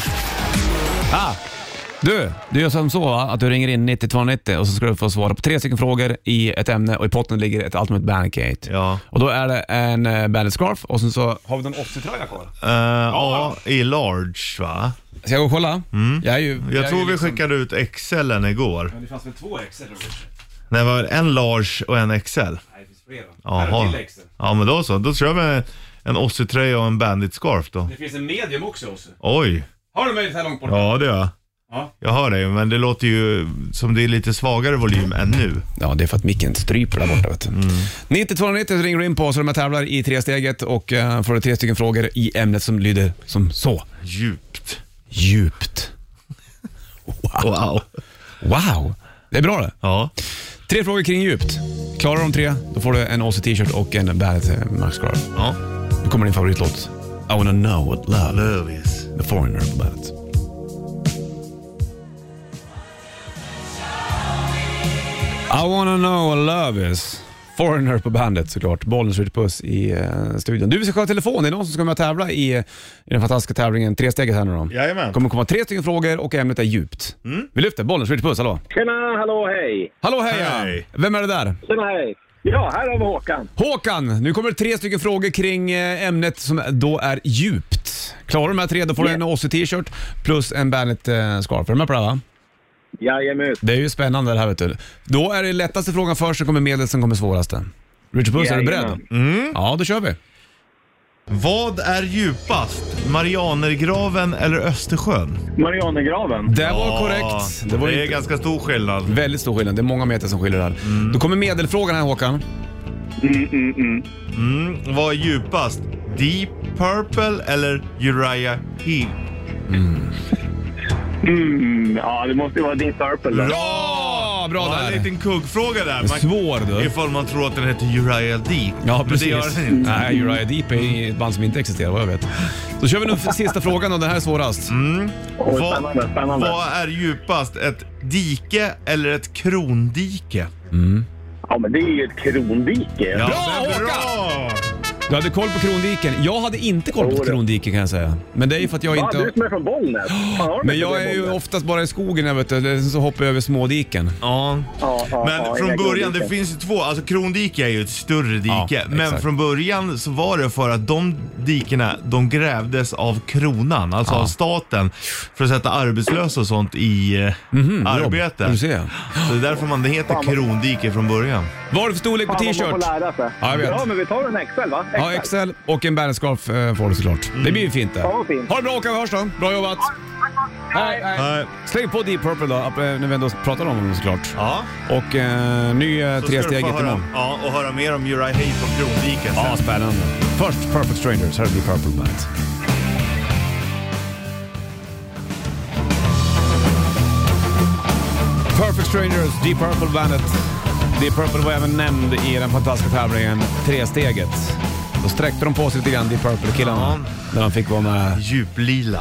Speaker 2: Du, du gör som så va? att du ringer in 9290 och så ska du få svara på tre stycken frågor i ett ämne och i potten ligger ett Ultimate Bandit-gate.
Speaker 3: Ja.
Speaker 2: Och då är det en eh, Bandit-scarf och sen så har vi någon 80-tröja kvar.
Speaker 3: Eh, ja, i large va?
Speaker 2: Ska jag gå och kolla? Mm. Jag, är ju,
Speaker 3: Jag tror
Speaker 2: är ju liksom-
Speaker 3: vi skickade ut XL'n igår.
Speaker 2: Det fanns väl två Excel?
Speaker 3: Nej, det var en large och en XL.
Speaker 2: Nej, det finns flera.
Speaker 3: Jaha. Ja, men då så. Då kör vi en Ozzy-tröja och en bandit-scarf då.
Speaker 2: Det finns en medium också. också.
Speaker 3: Oj.
Speaker 2: Har du möjlighet här långt bort?
Speaker 3: Ja, det gör jag.
Speaker 2: Ja.
Speaker 3: Jag hör dig, men det låter ju som det är lite svagare volym än nu.
Speaker 2: Ja, det är för att micken stryper där borta. Vet du. 9290 ringer du in på Mm. så de här tävlar i tre steget och eh, får du tre stycken frågor i ämnet som lyder som så.
Speaker 3: Djupt.
Speaker 2: Djupt.
Speaker 3: Wow.
Speaker 2: Wow! Det är bra det.
Speaker 3: Ja.
Speaker 2: Tre frågor kring djupt. Klarar du de tre, då får du en Ozzy t-shirt och en Bandet eh, Max Scarf.
Speaker 3: ja.
Speaker 2: Nu kommer din favoritlåt. I wanna know what love
Speaker 3: Love is.
Speaker 2: is. The Foreigner på Bandet. I wanna know what love is. Foreigner på bandet såklart. Bollnäs skjuter puss i eh, studion. Du, vi ska kolla telefon. Det är någon som ska med och tävla i, eh, i den fantastiska tävlingen Tresteget här nu då.
Speaker 3: Jajamän.
Speaker 2: kommer komma tre stycken frågor och ämnet är djupt. Vi lyfter. Bollnäs skjuter puss. Hallå!
Speaker 8: Tjena, hallå, hej!
Speaker 2: Hallå heja!
Speaker 3: Hej.
Speaker 2: Vem är det där?
Speaker 8: Tjena, hej! Ja, här har vi Håkan.
Speaker 2: Håkan, nu kommer det tre stycken frågor kring eh, ämnet som då är djupt. Klarar du de här tre, då får du en Ozzy t-shirt plus en Bandet-scarf. Är du med på det här, va?
Speaker 8: Jajamän.
Speaker 2: Det är ju spännande det här vet du. Då är det lättaste frågan först, sen kommer medlet, sen kommer svåraste. Richard Puss, är du beredd?
Speaker 8: Jajamän.
Speaker 2: Mm. Ja, då kör vi.
Speaker 3: Vad är djupast? Marianergraven eller Östersjön?
Speaker 8: Marianergraven.
Speaker 2: Det var
Speaker 3: Ja,
Speaker 2: korrekt. Det var
Speaker 3: det är
Speaker 2: inte...
Speaker 3: ganska stor skillnad.
Speaker 2: Väldigt stor skillnad. Det är många meter som skiljer där. Då kommer medelfrågan här Håkan.
Speaker 3: Mm. Vad är djupast? Deep Purple eller Uriah Heep?
Speaker 8: Mm, ja, det måste ju vara din Purple. då.
Speaker 2: Ja, bra
Speaker 3: Ja, en
Speaker 2: där.
Speaker 3: liten kuggfråga där. Man,
Speaker 2: Svår du.
Speaker 3: Ifall man tror att den heter Uriah Deep.
Speaker 2: Ja, precis.
Speaker 3: Men det gör den inte.
Speaker 2: Nej, Uriah Deep är ett band som inte existerar vad jag vet. Då kör vi nu sista frågan och den här är svårast.
Speaker 8: Oj,
Speaker 3: Vad-
Speaker 8: spännande, spännande.
Speaker 3: Vad är djupast? Ett dike eller ett krondike?
Speaker 8: Ja, men det är ju ett krondike.
Speaker 3: Ja,
Speaker 2: Bra,
Speaker 3: men
Speaker 2: Håkan!
Speaker 3: bra!
Speaker 2: Du hade koll på Krondiken. Jag hade inte koll på
Speaker 8: Jodå.
Speaker 2: Krondiken kan jag säga. Men det är ju för att jag
Speaker 8: Va,
Speaker 2: inte...
Speaker 8: du som är från Bollnäs? Fan, har du
Speaker 2: Men
Speaker 8: mycket
Speaker 2: jag
Speaker 8: från
Speaker 2: är ju
Speaker 8: Bollnäs?
Speaker 2: oftast bara i skogen, jag vet du. Eller så hoppar jag över smådiken.
Speaker 3: Ja.
Speaker 8: Ja, ja,
Speaker 3: Men
Speaker 8: ja,
Speaker 3: från
Speaker 8: inga
Speaker 3: början, det
Speaker 8: krondike.
Speaker 3: finns ju två. Alltså krondike är ju ett större dike.
Speaker 2: Ja,
Speaker 3: men
Speaker 2: exakt.
Speaker 3: från början så var det för att de dikena, de grävdes av kronan, alltså av staten. För att sätta arbetslösa och sånt i eh,
Speaker 2: Mhm,
Speaker 3: arbete.
Speaker 2: Du ser.
Speaker 3: Så det är därför man det heter krondike från början.
Speaker 2: Vad har du för storlek på
Speaker 8: Fan, vad man får
Speaker 2: t-shirt?
Speaker 8: lära sig.
Speaker 2: Ja, jag vet.
Speaker 8: Ja, men vi tar en XL, va?
Speaker 2: Ja, Excel och en bandscarf eh, får du såklart. Det blir ju fint det.
Speaker 8: Mm. Ja, vad fint.
Speaker 2: Ha det bra Håkan, vi hörs då. Bra jobbat. Hej, hej.
Speaker 3: Nej.
Speaker 2: Släng på Deep Purple då, eh, när vi ändå pratar om dem såklart.
Speaker 3: Ja,
Speaker 2: Och eh, ny eh,
Speaker 3: så ska du få
Speaker 2: tresteget
Speaker 3: höra-
Speaker 2: imorgon.
Speaker 3: Ja, och höra mer om Uriah Heep och krondiken sen.
Speaker 2: Ja, spännande. Först Perfect Strangers, här är Deep Purple Bandet. Perfect Strangers, Deep Purple Bandet. Deep Purple var även nämnd i den fantastiska tävlingen Tresteget. Då sträckte de på sig lite grann, Deep Purple-killarna, när de fick vara med.
Speaker 3: Djuplila.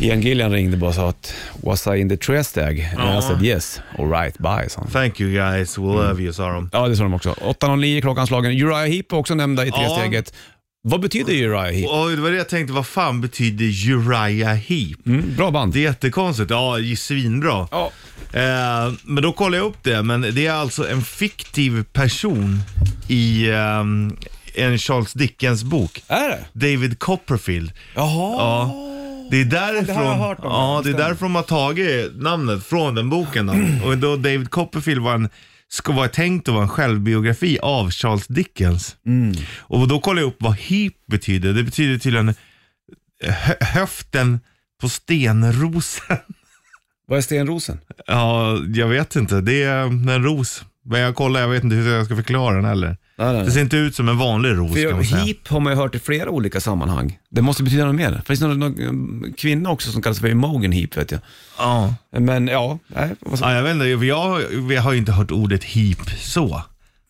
Speaker 2: Ian Gillian ringde bara och sa att “Was I in the tresteg?” And I said “Yes, alright, bye” sa han.
Speaker 3: Thank you guys, we love you sa de.
Speaker 2: Mm. Ja, det sa de också. 8.09 klockan slagen. Uriah Heep var också nämnda i
Speaker 3: Ja.
Speaker 2: tresteget. Vad betyder Uriah Heep?
Speaker 3: Och det var det jag tänkte, vad fan betyder Uriah Heep?
Speaker 2: Mm, bra band.
Speaker 3: Det är jättekonstigt. Ja, det är svinbra.
Speaker 2: Ja.
Speaker 3: Eh, men då kollade jag upp det, men det är alltså en fiktiv person i ehm, en Charles Dickens bok.
Speaker 2: Är det?
Speaker 3: David Copperfield.
Speaker 2: Jaha.
Speaker 3: Ja. Det är därifrån,
Speaker 2: det har jag hört om,
Speaker 3: ja,
Speaker 2: det
Speaker 3: det är
Speaker 2: stämmer. Mm.
Speaker 3: därför de har tagit namnet från den boken. Då. Och då David Copperfield var en, ska vara tänkt att vara en självbiografi av Charles Dickens.
Speaker 2: Mm.
Speaker 3: Och då kollade jag upp vad heap betyder. Det betyder tydligen eh, hö- höften på stenrosen.
Speaker 2: Vad är stenrosen?
Speaker 3: Ja, jag vet inte. Det är eh, en ros. Men jag kollar, jag vet inte hur jag ska förklara den heller.
Speaker 2: Nej, nej,
Speaker 3: Det ser inte ut som en vanlig ros
Speaker 2: För
Speaker 3: kan man säga.
Speaker 2: heap har man ju hört i flera olika sammanhang. Det måste betyda något mer. Finns det någon, någon kvinna också som kallas för Mogen Heap vet jag.
Speaker 3: Ja.
Speaker 2: Men ja, nej. Vad
Speaker 3: ja, jag vet inte. för Jag, jag har ju inte hört ordet heap så.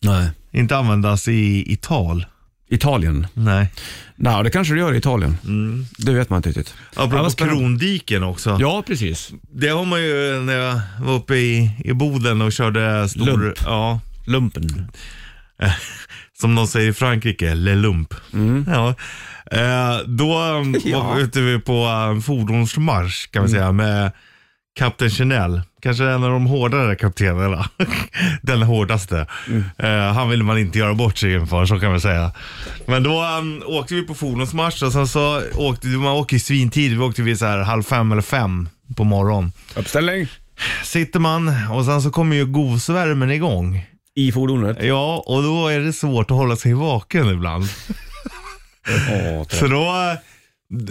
Speaker 2: nej.
Speaker 3: Inte användas i, i tal.
Speaker 2: Italien.
Speaker 3: Nej.
Speaker 2: Nej, det kanske du gör i Italien.
Speaker 3: Mm.
Speaker 2: Det vet man inte riktigt. Ja,
Speaker 3: Apropå
Speaker 2: vad spännande.
Speaker 3: krondiken också.
Speaker 2: Ja, precis.
Speaker 3: Det har man ju när jag var uppe i, i Boden och körde stor...
Speaker 2: Lump.
Speaker 3: Ja,
Speaker 2: Lumpen.
Speaker 3: som de säger i Frankrike, le lump. Ja. Eh, då um,
Speaker 2: Ja.
Speaker 3: var vi ute på en fordonsmarsch kan vi säga med Kapten Chanel. Kanske en av de hårdare kaptenerna. Den hårdaste. Eh, han ville man inte göra bort sig inför, så kan man säga. Men då um, åkte vi på fordonsmarsch och sen så åkte man åker i svintid. Vi åkte vid så här halv fem eller fem på morgonen.
Speaker 2: Uppställning.
Speaker 3: Sitter man och sen så kommer ju gosvärmen igång.
Speaker 2: I fordonet.
Speaker 3: Ja, och då är det svårt att hålla sig vaken ibland.
Speaker 2: Åh, trött.
Speaker 3: Så då,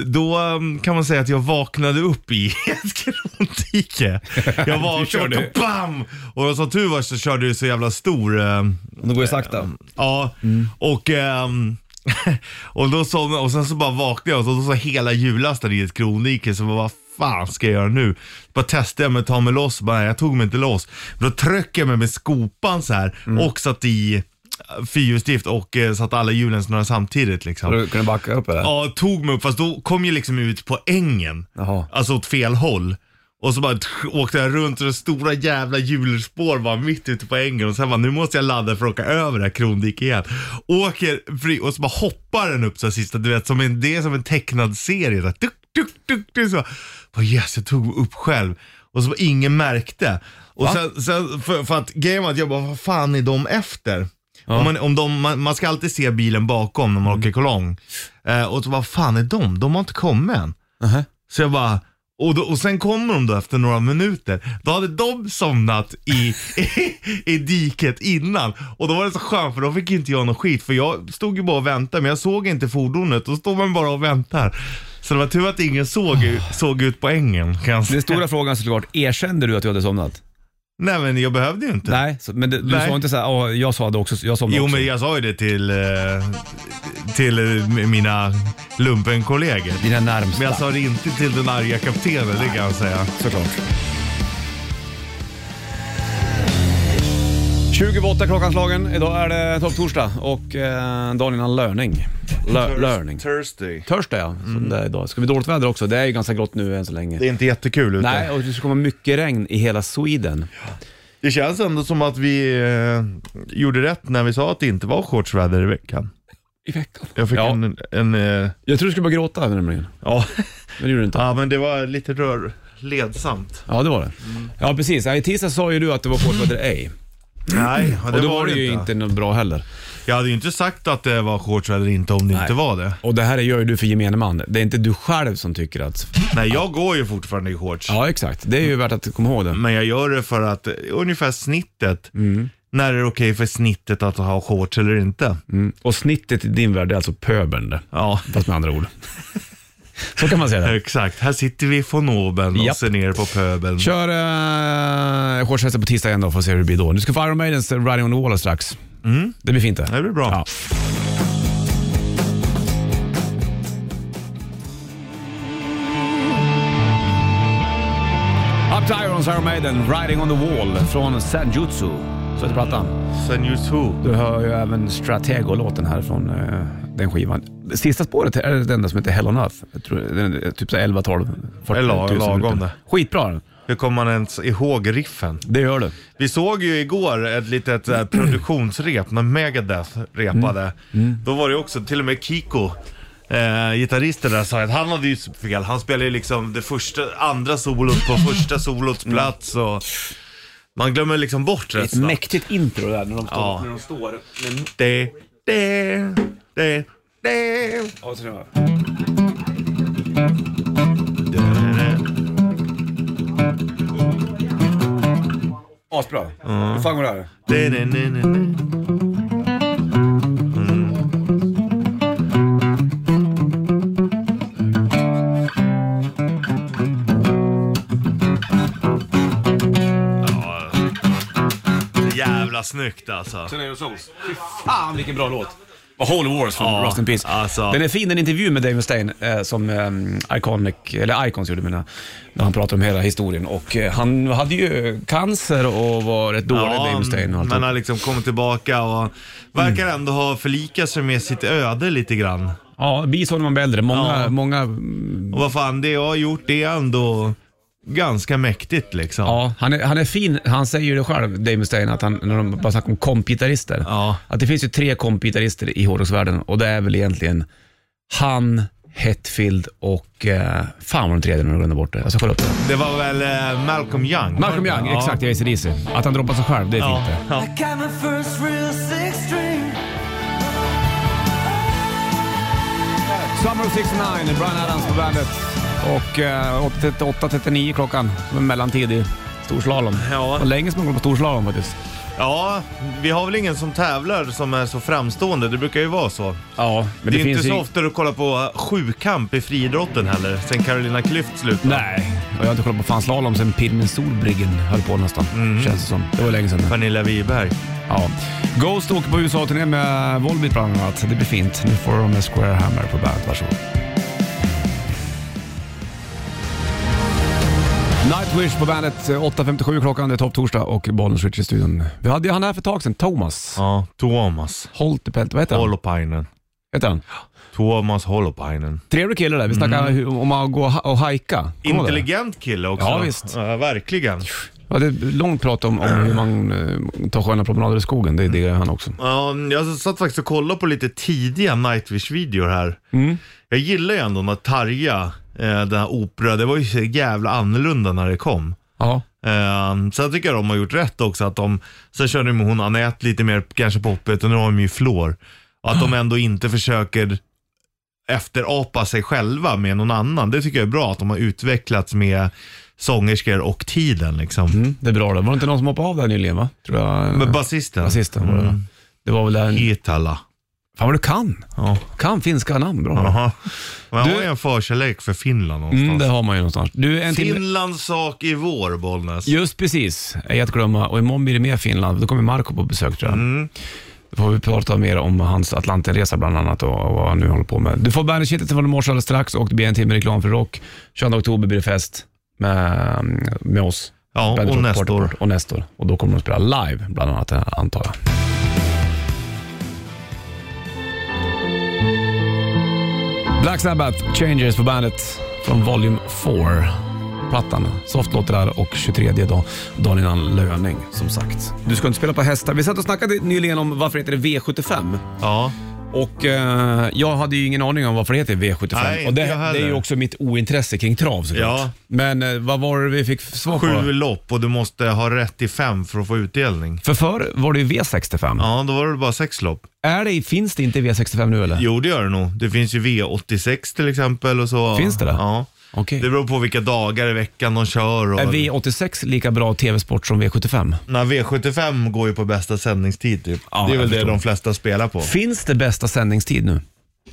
Speaker 3: då um, kan man säga att jag vaknade upp i ett krondike. Jag vaknade
Speaker 2: körde.
Speaker 3: och bam! Och som tur var så körde jag så jävla stor. eh,
Speaker 2: Nu går jag sakta.
Speaker 3: Ja, och, ehm, och, då så, och sen så bara vaknade jag och så, då så hela jullasten i ett krondike. Så jag bara, vad fan ska jag göra nu? Bara testade jag mig att ta mig loss. Bara, nej, jag tog mig inte loss. Då tryckte jag mig med skopan så här och satt i eh, fyrhjulsdrift och eh, satte alla hjulen snurra samtidigt liksom.
Speaker 2: Du kunde backa upp eller?
Speaker 3: Ja, tog mig upp fast då kom jag liksom ut på ängen.
Speaker 2: Jaha.
Speaker 3: Alltså åt fel håll. Och så bara tch, åkte jag runt och det stora jävla hjulspår var mitt ute på ängen och sen bara nu måste jag ladda för att åka över det här krondiket igen. Åker fri och så bara hoppar den upp så här sista, du vet som en, det är som en tecknad serie. Så här, tuk, tuk, tuk, tuk, så bara, oh yes, jag tog mig upp själv. Och så bara, ingen märkte. Och sen, sen för, för att grejen var att jag bara, vad fan är de efter? Om man, om de, man, man ska alltid se bilen bakom när man åker kolong. Eh, och så bara, fan är de? De har inte kommit än.
Speaker 2: Nähä.
Speaker 3: Så jag bara, och, då, och sen kommer de då efter några minuter. Då hade de somnat i, i, i diket innan. Och då var det så skönt för då fick inte jag någon skit. För jag stod ju bara och väntade men jag såg inte fordonet. Då står man bara och väntar. Så det var tur att ingen såg, ut- såg ut på ängen. Kan jag säga.
Speaker 2: Den stora frågan såklart, erkände du att du hade somnat?
Speaker 3: Nej men jag behövde ju inte.
Speaker 2: Nej, så, men det, du
Speaker 3: Nej.
Speaker 2: sa inte såhär, "Ja, jag sa det också, jag somnade
Speaker 3: Jo
Speaker 2: också.
Speaker 3: men jag sa ju det till, eh, till eh, mina lumpenkollegor.
Speaker 2: Dina närmsta.
Speaker 3: Men jag sa det inte till den arga kaptenen, det kan jag säga.
Speaker 2: Såklart. 28 klockan slagen. Idag är det topptorsdag och eh, dagen innan löning. Lö- löning.
Speaker 3: Thursday.
Speaker 2: Törsdag ja, som det är idag. Det ska bli dåligt väder också. Det är ju ganska grått nu än så länge.
Speaker 3: Det är inte jättekul ute.
Speaker 2: Nej, och det ska komma mycket regn i hela Sweden.
Speaker 3: Det känns ändå som att vi eh, gjorde rätt när vi sa att det inte var shortsväder i veckan.
Speaker 2: I veckan?
Speaker 3: Jag fick
Speaker 2: ja.
Speaker 3: en... en eh,
Speaker 2: Jag tror du skulle börja gråta nämligen.
Speaker 3: ja.
Speaker 2: Men det gjorde du inte.
Speaker 3: ja, men det var lite rör... Ledsamt.
Speaker 2: Ja, det var det. Ja, precis. Ja, I tisdags sa ju du att det var shortsväder ej.
Speaker 3: Nej, det
Speaker 2: Och då var det ju inte något bra heller.
Speaker 3: Jag hade ju inte sagt att det var shortsväder inte om det inte var det.
Speaker 2: Och det här gör ju du för gemene man. Det är inte du själv som tycker att...
Speaker 3: Nej, jag går ju fortfarande i shorts.
Speaker 2: Ja, exakt. Det är ju värt att komma ihåg det.
Speaker 3: Men jag gör det för att eh, ungefär snittet.
Speaker 2: Mm.
Speaker 3: När är det okej för snittet att ha shorts eller inte?
Speaker 2: Och snittet i din värld är alltså pöbeln det.
Speaker 3: Ja,
Speaker 2: Fast med andra ord. Så kan man säga det.
Speaker 3: exakt. Här sitter vi i von oben och
Speaker 2: Japp.
Speaker 3: ser ner på pöbeln.
Speaker 2: Kör eh, shortshästar på tisdag igen då, får se hur det blir då. Nu ska få Iron Maidens Riding on the Wall strax. Det blir fint det.
Speaker 3: Mm. Det blir bra.
Speaker 2: Ja. Up to Irons, Iron Maiden, Riding on the Wall från Sanjutsu. Så heter plattan.
Speaker 3: Sen just who?
Speaker 2: Du hör ju även Stratego-låten här från eh, den skivan. Sista spåret är det enda som heter Hell on Earth. Jag tror, den är typ så här 11, 12, 40
Speaker 3: Det är la-
Speaker 2: 000
Speaker 3: lagom
Speaker 2: minuter.
Speaker 3: det.
Speaker 2: Skitbra den.
Speaker 3: Hur kommer man ens ihåg riffen?
Speaker 2: Det gör du.
Speaker 3: Vi såg ju igår ett litet eh, produktionsrep när Megadeth
Speaker 2: Mm.
Speaker 3: repade. Då var det också till och med Kiko, eh, gitarristen där, sa att han hade ju fel. Han spelade ju liksom det första, andra solot på första solots
Speaker 2: Mm.
Speaker 3: plats och man glömmer liksom bort rätt snabbt.
Speaker 2: Mäktigt intro där när de står...
Speaker 3: Ja.
Speaker 2: När de står
Speaker 3: Det, det, det, det.
Speaker 2: Asbra. Hur fan går det här?
Speaker 3: Det, det, det, det, det. Ja. Jävla snyggt alltså.
Speaker 2: Tornado Souls. Fy fan vilken bra låt. Och Holy Wars från
Speaker 3: Ja,
Speaker 2: Rust in Peace.
Speaker 3: alltså.
Speaker 2: Den är fin, en intervju med Dave Mustaine eh, som eh, Iconic, eller Icons gjorde mina, när han pratade om hela historien. Och eh, han hade ju cancer och var rätt dålig, Dave Mustaine och Mm. allt.
Speaker 3: men han liksom kommer tillbaka och verkar ändå ha förlikat sig med sitt öde lite grann.
Speaker 2: Ja, vi såg när man blev äldre. Många,
Speaker 3: Ja.
Speaker 2: många,
Speaker 3: Och vad fan, det jag har gjort det är ändå ganska mäktigt liksom.
Speaker 2: ja, han är, han är fin. Han säger ju det själv, Dave Mustaine, att han, när de bara snackar om kompgitarrister.
Speaker 3: Ja.
Speaker 2: Att det finns ju tre kompgitarrister i hårdrocksvärlden och det är väl egentligen han, Hetfield och... Eh, fan vad den tredje nu glömde bort det. Jag ska kolla upp det.
Speaker 3: Det var väl eh, Malcolm Young?
Speaker 2: Malcolm Young,
Speaker 3: Ja.
Speaker 2: exakt. Jag är DC. Att han droppar sig själv, det är
Speaker 3: Ja.
Speaker 2: fint det.
Speaker 3: Ja.
Speaker 2: Summer of 69, Brian Adams på bandet. Och eh, 8.39 klockan, som en mellantid i storslalom.
Speaker 3: Ja.
Speaker 2: Det var länge som man kollade på storslalom faktiskt.
Speaker 3: Ja, vi har väl ingen som tävlar som är så framstående. Det brukar ju vara så.
Speaker 2: Ja, men
Speaker 3: Det,
Speaker 2: det,
Speaker 3: är
Speaker 2: finns
Speaker 3: inte så
Speaker 2: ju...
Speaker 3: ofta du kollar på äh, sjukamp i friidrotten heller, sen Carolina Klüft slutade.
Speaker 2: Nej, och jag har inte kollat på fan slalom sen Pirmin Solbriggen höll på nästan.
Speaker 3: Mhm.
Speaker 2: Känns det som. Det var länge sedan. nu.
Speaker 3: Pernilla Wiberg.
Speaker 2: Ja. Ghost åker på USA-turné med Volbeat bland annat. Det blir fint. Nu får de med Square Hammer på bandet. Varsågod. Nightwish på bandet. 8.57 klockan. Det är topptorsdag och Bollnäs Rich i studion. Vi hade ju han här för ett tag sedan. Thomas
Speaker 3: Ja, Tuomas
Speaker 2: Holtepelt. Vad heter han?
Speaker 3: Holopainen.
Speaker 2: Heter han?
Speaker 3: Tuomas Holopainen.
Speaker 2: Trevlig kille där. Vi snackade hur- om att gå och ha- och hajka. Kommer du ihåg det?
Speaker 3: Mhm. Intelligent kille också.
Speaker 2: Ja, visst.
Speaker 3: Ja, verkligen.
Speaker 2: Vi hade långt prat om, om hur man eh, tar sköna promenader i skogen. Det är det han också.
Speaker 3: Ja, jag satt faktiskt och kollade på lite tidiga Nightwish-videor här.
Speaker 2: Mm.
Speaker 3: Jag gillar ju ändå när Tarja, eh, den här opera, det var ju så jävla annorlunda när det kom.
Speaker 2: Ja.
Speaker 3: Um, sen tycker jag de har gjort rätt också att de, sen körde de med hon Anette lite mer kanske poppigt och nu har de ju Flor. Och
Speaker 2: Ah.
Speaker 3: att de ändå inte försöker efterapa sig själva med någon annan. Det tycker jag är bra att de har utvecklats med sångerskor och tiden liksom.
Speaker 2: Mm, det är bra det. Var det inte någon som hoppade av där nyligen va? Tror jag.
Speaker 3: Men Mm. basisten.
Speaker 2: Basisten var det va? Det var väl där...
Speaker 3: Hietala.
Speaker 2: Fan vad du kan!
Speaker 3: Ja.
Speaker 2: Kan finska namn bra.
Speaker 3: Jaha. Man
Speaker 2: Du-
Speaker 3: har ju en förkärlek för Finland någonstans.
Speaker 2: Mm, det har man ju någonstans. Du, en till...
Speaker 3: Finlands sak i vår, Bollnäs.
Speaker 2: Just precis, är att glömma. Och imorgon blir det mer Finland. Då kommer Marco på besök tror jag.
Speaker 3: Mm.
Speaker 2: Då får vi prata mer om hans Atlantenresa bland annat och, och vad han nu håller på med. Du får bandet från i morse alldeles strax och det blir en timme reklam för rock. 22 oktober blir det fest med, med oss.
Speaker 3: Ja,
Speaker 2: Bandit
Speaker 3: och
Speaker 2: Rock
Speaker 3: nästa
Speaker 2: Party
Speaker 3: år.
Speaker 2: Party. Och nästa år. Och då kommer de spela live bland annat, eh, antar jag. Black Sabbath, Changes på bandet från Volume 4-plattan. Soft låter där och 23 dag, dagen innan löning som sagt. Du ska inte spela på hästar. Vi satt och snackade nyligen om varför heter det V75.
Speaker 3: Ja.
Speaker 2: Och eh, jag hade ju ingen aning om varför det heter V75.
Speaker 3: Nej,
Speaker 2: och det,
Speaker 3: inte jag heller.
Speaker 2: det är ju också mitt ointresse kring trav såklart.
Speaker 3: Ja.
Speaker 2: Men eh, vad var det vi fick svar på?
Speaker 3: Sju lopp och du måste ha rätt i fem för att få utdelning.
Speaker 2: För förr var det ju V65.
Speaker 3: Ja, då var det bara sex lopp.
Speaker 2: Är det, finns det inte V65 nu eller?
Speaker 3: Jo, det gör det nog. Det finns ju V86 till exempel och så.
Speaker 2: Finns det det?
Speaker 3: Ja.
Speaker 2: Okej.
Speaker 3: Det beror på vilka dagar i veckan de kör. Och...
Speaker 2: Är V86 lika bra tv-sport som V75?
Speaker 3: Nej, V75 går ju på bästa sändningstid typ.
Speaker 2: Ja,
Speaker 3: det
Speaker 2: jag
Speaker 3: är väl det
Speaker 2: förstår.
Speaker 3: de flesta spelar på.
Speaker 2: Finns det bästa sändningstid nu?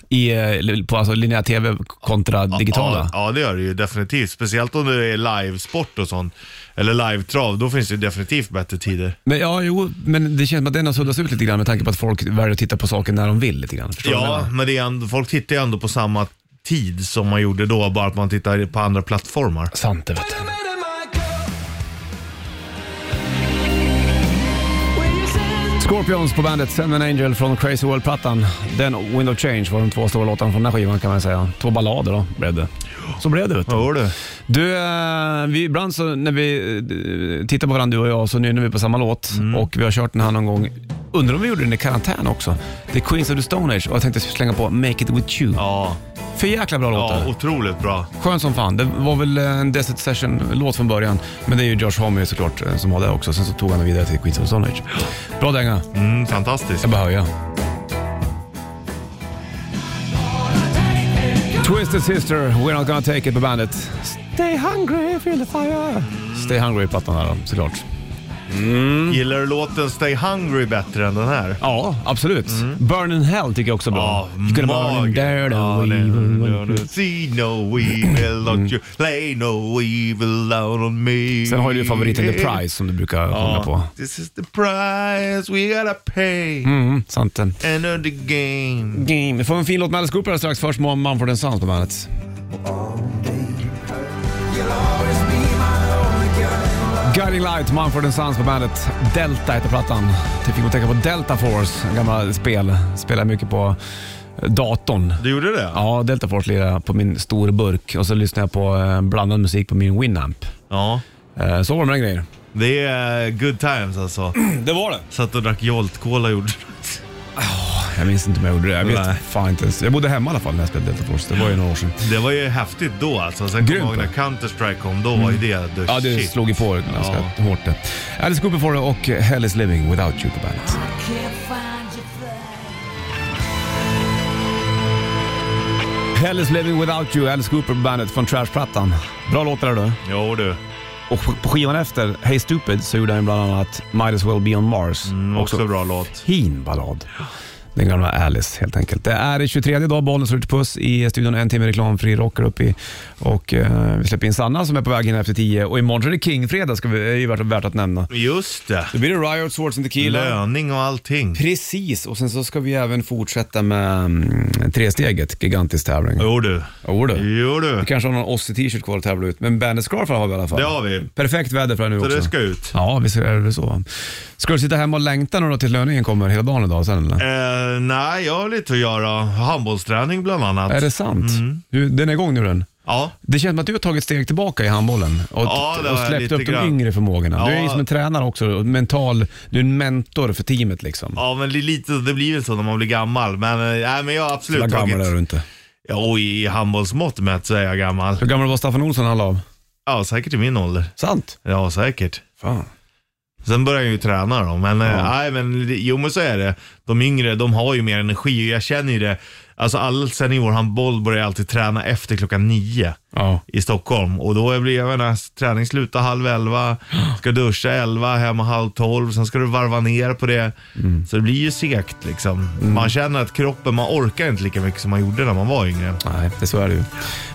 Speaker 2: I, eh, på alltså linjär tv kontra digitala?
Speaker 3: Ja, ja, det gör det ju definitivt. Speciellt om det är livesport och sånt. Eller livetrav, då finns det ju definitivt bättre tider.
Speaker 2: Men, ja, jo, men det känns som att den har suddats ut lite grann med tanke på att folk väljer att titta på saker när de vill lite grann. Förstår du vad jag
Speaker 3: Ja,
Speaker 2: menar?
Speaker 3: men det är ändå, folk tittar ju ändå på samma tid som man gjorde då, bara att man tittar på andra plattformar.
Speaker 2: Sant det vet du. Scorpions på bandet, Send an Angel från Crazy World-plattan. Den och Wind of Change var de två stora låtarna från den här skivan kan man säga. Två ballader då blev det. Så blev det vet du.
Speaker 3: Vad var du?
Speaker 2: Du, eh, vi, ibland så när vi eh, tittar på varandra du och jag så nynnar vi på samma låt och vi har kört den här någon gång. Undrar om vi gjorde den i karantän också? Det är Queens of the Stone Age och jag tänkte slänga på Make It With You.
Speaker 3: Ja,
Speaker 2: För jäkla bra låtar.
Speaker 3: ja otroligt bra.
Speaker 2: Skön som fan. Det var väl eh, en Desert Session-låt från början. Men det är ju Josh Homme såklart eh, som har det också. Sen så tog han den vidare till Queens of the Stone Age. Bra dänga.
Speaker 3: Mm, fantastiskt.
Speaker 2: Jag bara höja. Twisted Sister, We're Not Gonna Take It på bandet. Stay hungry, feel the fire. Stay hungry plattan här då, såklart.
Speaker 3: Gillar du låten Stay Hungry bättre än den här?
Speaker 2: Mm. Ja, absolut. Burn in Hell tycker jag också är bra. You gonna burn in there,
Speaker 3: Mm. Ja,
Speaker 2: we
Speaker 3: det-
Speaker 2: will-
Speaker 3: See no evil,
Speaker 2: Mm.
Speaker 3: don't you play no evil down on me.
Speaker 2: Sen har du ju favoriten The Prize som du brukar sjunga på.
Speaker 3: This is the price we gotta pay.
Speaker 2: Mm, sant den.
Speaker 3: End of the game.
Speaker 2: Game. Vi får en fin låt med Alice Cooper här strax. Först Mom Mumford and Sons på bandet. Guiding Light, Mumford and Sons på bandet. Delta heter plattan. Det fick man tänka på Delta Force, gamla spel. Spelar mycket på eh, datorn.
Speaker 3: Du gjorde det?
Speaker 2: Ja, Delta Force lirade jag på min stora burk och så lyssnade jag på eh, blandad musik på min Winamp.
Speaker 3: Ja.
Speaker 2: Eh, Så var det med den grejen.
Speaker 3: Det är eh, good times alltså.
Speaker 2: Det var det.
Speaker 3: Satt och drack Jolt Cola gjorde
Speaker 2: Jag minns inte om jag gjorde det. Jag
Speaker 3: Nej.
Speaker 2: vet fan inte ens. Jag bodde hemma i alla fall när jag spelade Delta Force. Det var ju några år sedan.
Speaker 3: Det var ju häftigt då alltså. Sen kommer
Speaker 2: Grymt,
Speaker 3: jag ihåg när
Speaker 2: va?
Speaker 3: Counter-Strike kom. Då var ju det the
Speaker 2: Ja, det
Speaker 3: shit.
Speaker 2: slog ju på ganska
Speaker 3: Ja.
Speaker 2: hårt det. Alice Cooper får det och Hell is living without you på bandet. Hell is living without you, Alice Cooper på bandet från Trash-plattan. Bra låtar där du.
Speaker 3: Jo du.
Speaker 2: Och på- på skivan efter, Hey Stupid, så gjorde han bland annat Might as well be on Mars.
Speaker 3: Mm, Också, bra låt.
Speaker 2: Fin ballad. Den gamla Alice helt enkelt. Det är 23 dag, bollen slår ut puss i studion. En timme reklamfri rocker upp i. Och eh, vi släpper in Sanna som är på väg in efter 10. Och imorgon är det King-fredag, ska vi, är ju värt, värt att nämna.
Speaker 3: Just det.
Speaker 2: Då blir det Riot, Swords and Tequila.
Speaker 3: Löning och allting.
Speaker 2: Precis, och sen så ska vi även fortsätta med mm, tresteget, gigantisk tävling.
Speaker 3: Jo du.
Speaker 2: Jo du.
Speaker 3: Jo du.
Speaker 2: Vi kanske har någon Ossie-t-shirt kvar att tävla ut, men Bandit Scarf har vi i alla fall.
Speaker 3: Det har vi.
Speaker 2: Perfekt väder för det nu
Speaker 3: Så
Speaker 2: också.
Speaker 3: det ska ut.
Speaker 2: Ja, visst är det väl så. Ska du sitta hemma och längta nu då tills löningen kommer hela dagen idag sen eller?
Speaker 3: Eh, nej, jag har lite att göra. Handbollsträning bland annat.
Speaker 2: Är det sant?
Speaker 3: Mm.
Speaker 2: Du, Den är igång nu den.
Speaker 3: Ja.
Speaker 2: Det känns som att du har tagit steg tillbaka i handbollen och,
Speaker 3: Ja, det
Speaker 2: och
Speaker 3: har jag
Speaker 2: släppt
Speaker 3: lite
Speaker 2: upp de
Speaker 3: grann.
Speaker 2: yngre förmågorna. Du är ju
Speaker 3: Ja.
Speaker 2: som en tränare också, och mental, du är en mentor för teamet liksom.
Speaker 3: Ja, men det, är lite, det blir väl så när man blir gammal. Men, eh, nej, men jag har
Speaker 2: Hur
Speaker 3: absolut
Speaker 2: gammal är du
Speaker 3: tagit...
Speaker 2: inte?
Speaker 3: Ja, och i handbollsmått mätt så är jag gammal.
Speaker 2: Hur gammal var Staffan Olsson när han la av?
Speaker 3: Ja, säkert i min ålder.
Speaker 2: Sant?
Speaker 3: Ja, säkert.
Speaker 2: Fan.
Speaker 3: Sen börjar jag ju träna då, men, eh, nej, men jo men så är det. De yngre, de har ju mer energi och jag känner ju det. Alltså all seniorhandboll börjar jag alltid träna efter klockan nio
Speaker 2: Ja.
Speaker 3: i Stockholm. Och då blir jag, jag menar, träning slutar halv elva, ska duscha elva, hemma halv tolv, sen ska du varva ner på det. Så det blir ju segt liksom. Man känner att kroppen, man orkar inte lika mycket som man gjorde när man var yngre.
Speaker 2: Nej, det så är det ju.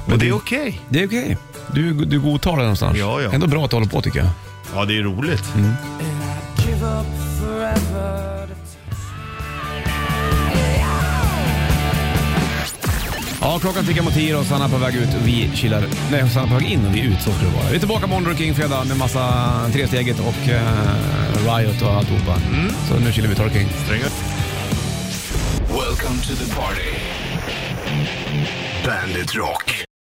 Speaker 2: Men
Speaker 3: Och det är
Speaker 2: du-
Speaker 3: okej.
Speaker 2: Det är okej. Du, du godtar det någonstans.
Speaker 3: Ja, ja.
Speaker 2: Ändå bra att du håller på tycker jag.
Speaker 3: Ja, det är roligt.
Speaker 2: Ja, klockan tickar mot tio och Sanna är på väg ut och vi kilar... Nej, Sanna är på väg in och vi är ut. Så ska det vara. Vi är tillbaka imorgon, King fredag med massa Tresteget och eh, Riot och alltihopa. Så nu kilar vi tar King.
Speaker 5: Welcome to the party. Bandit Rock.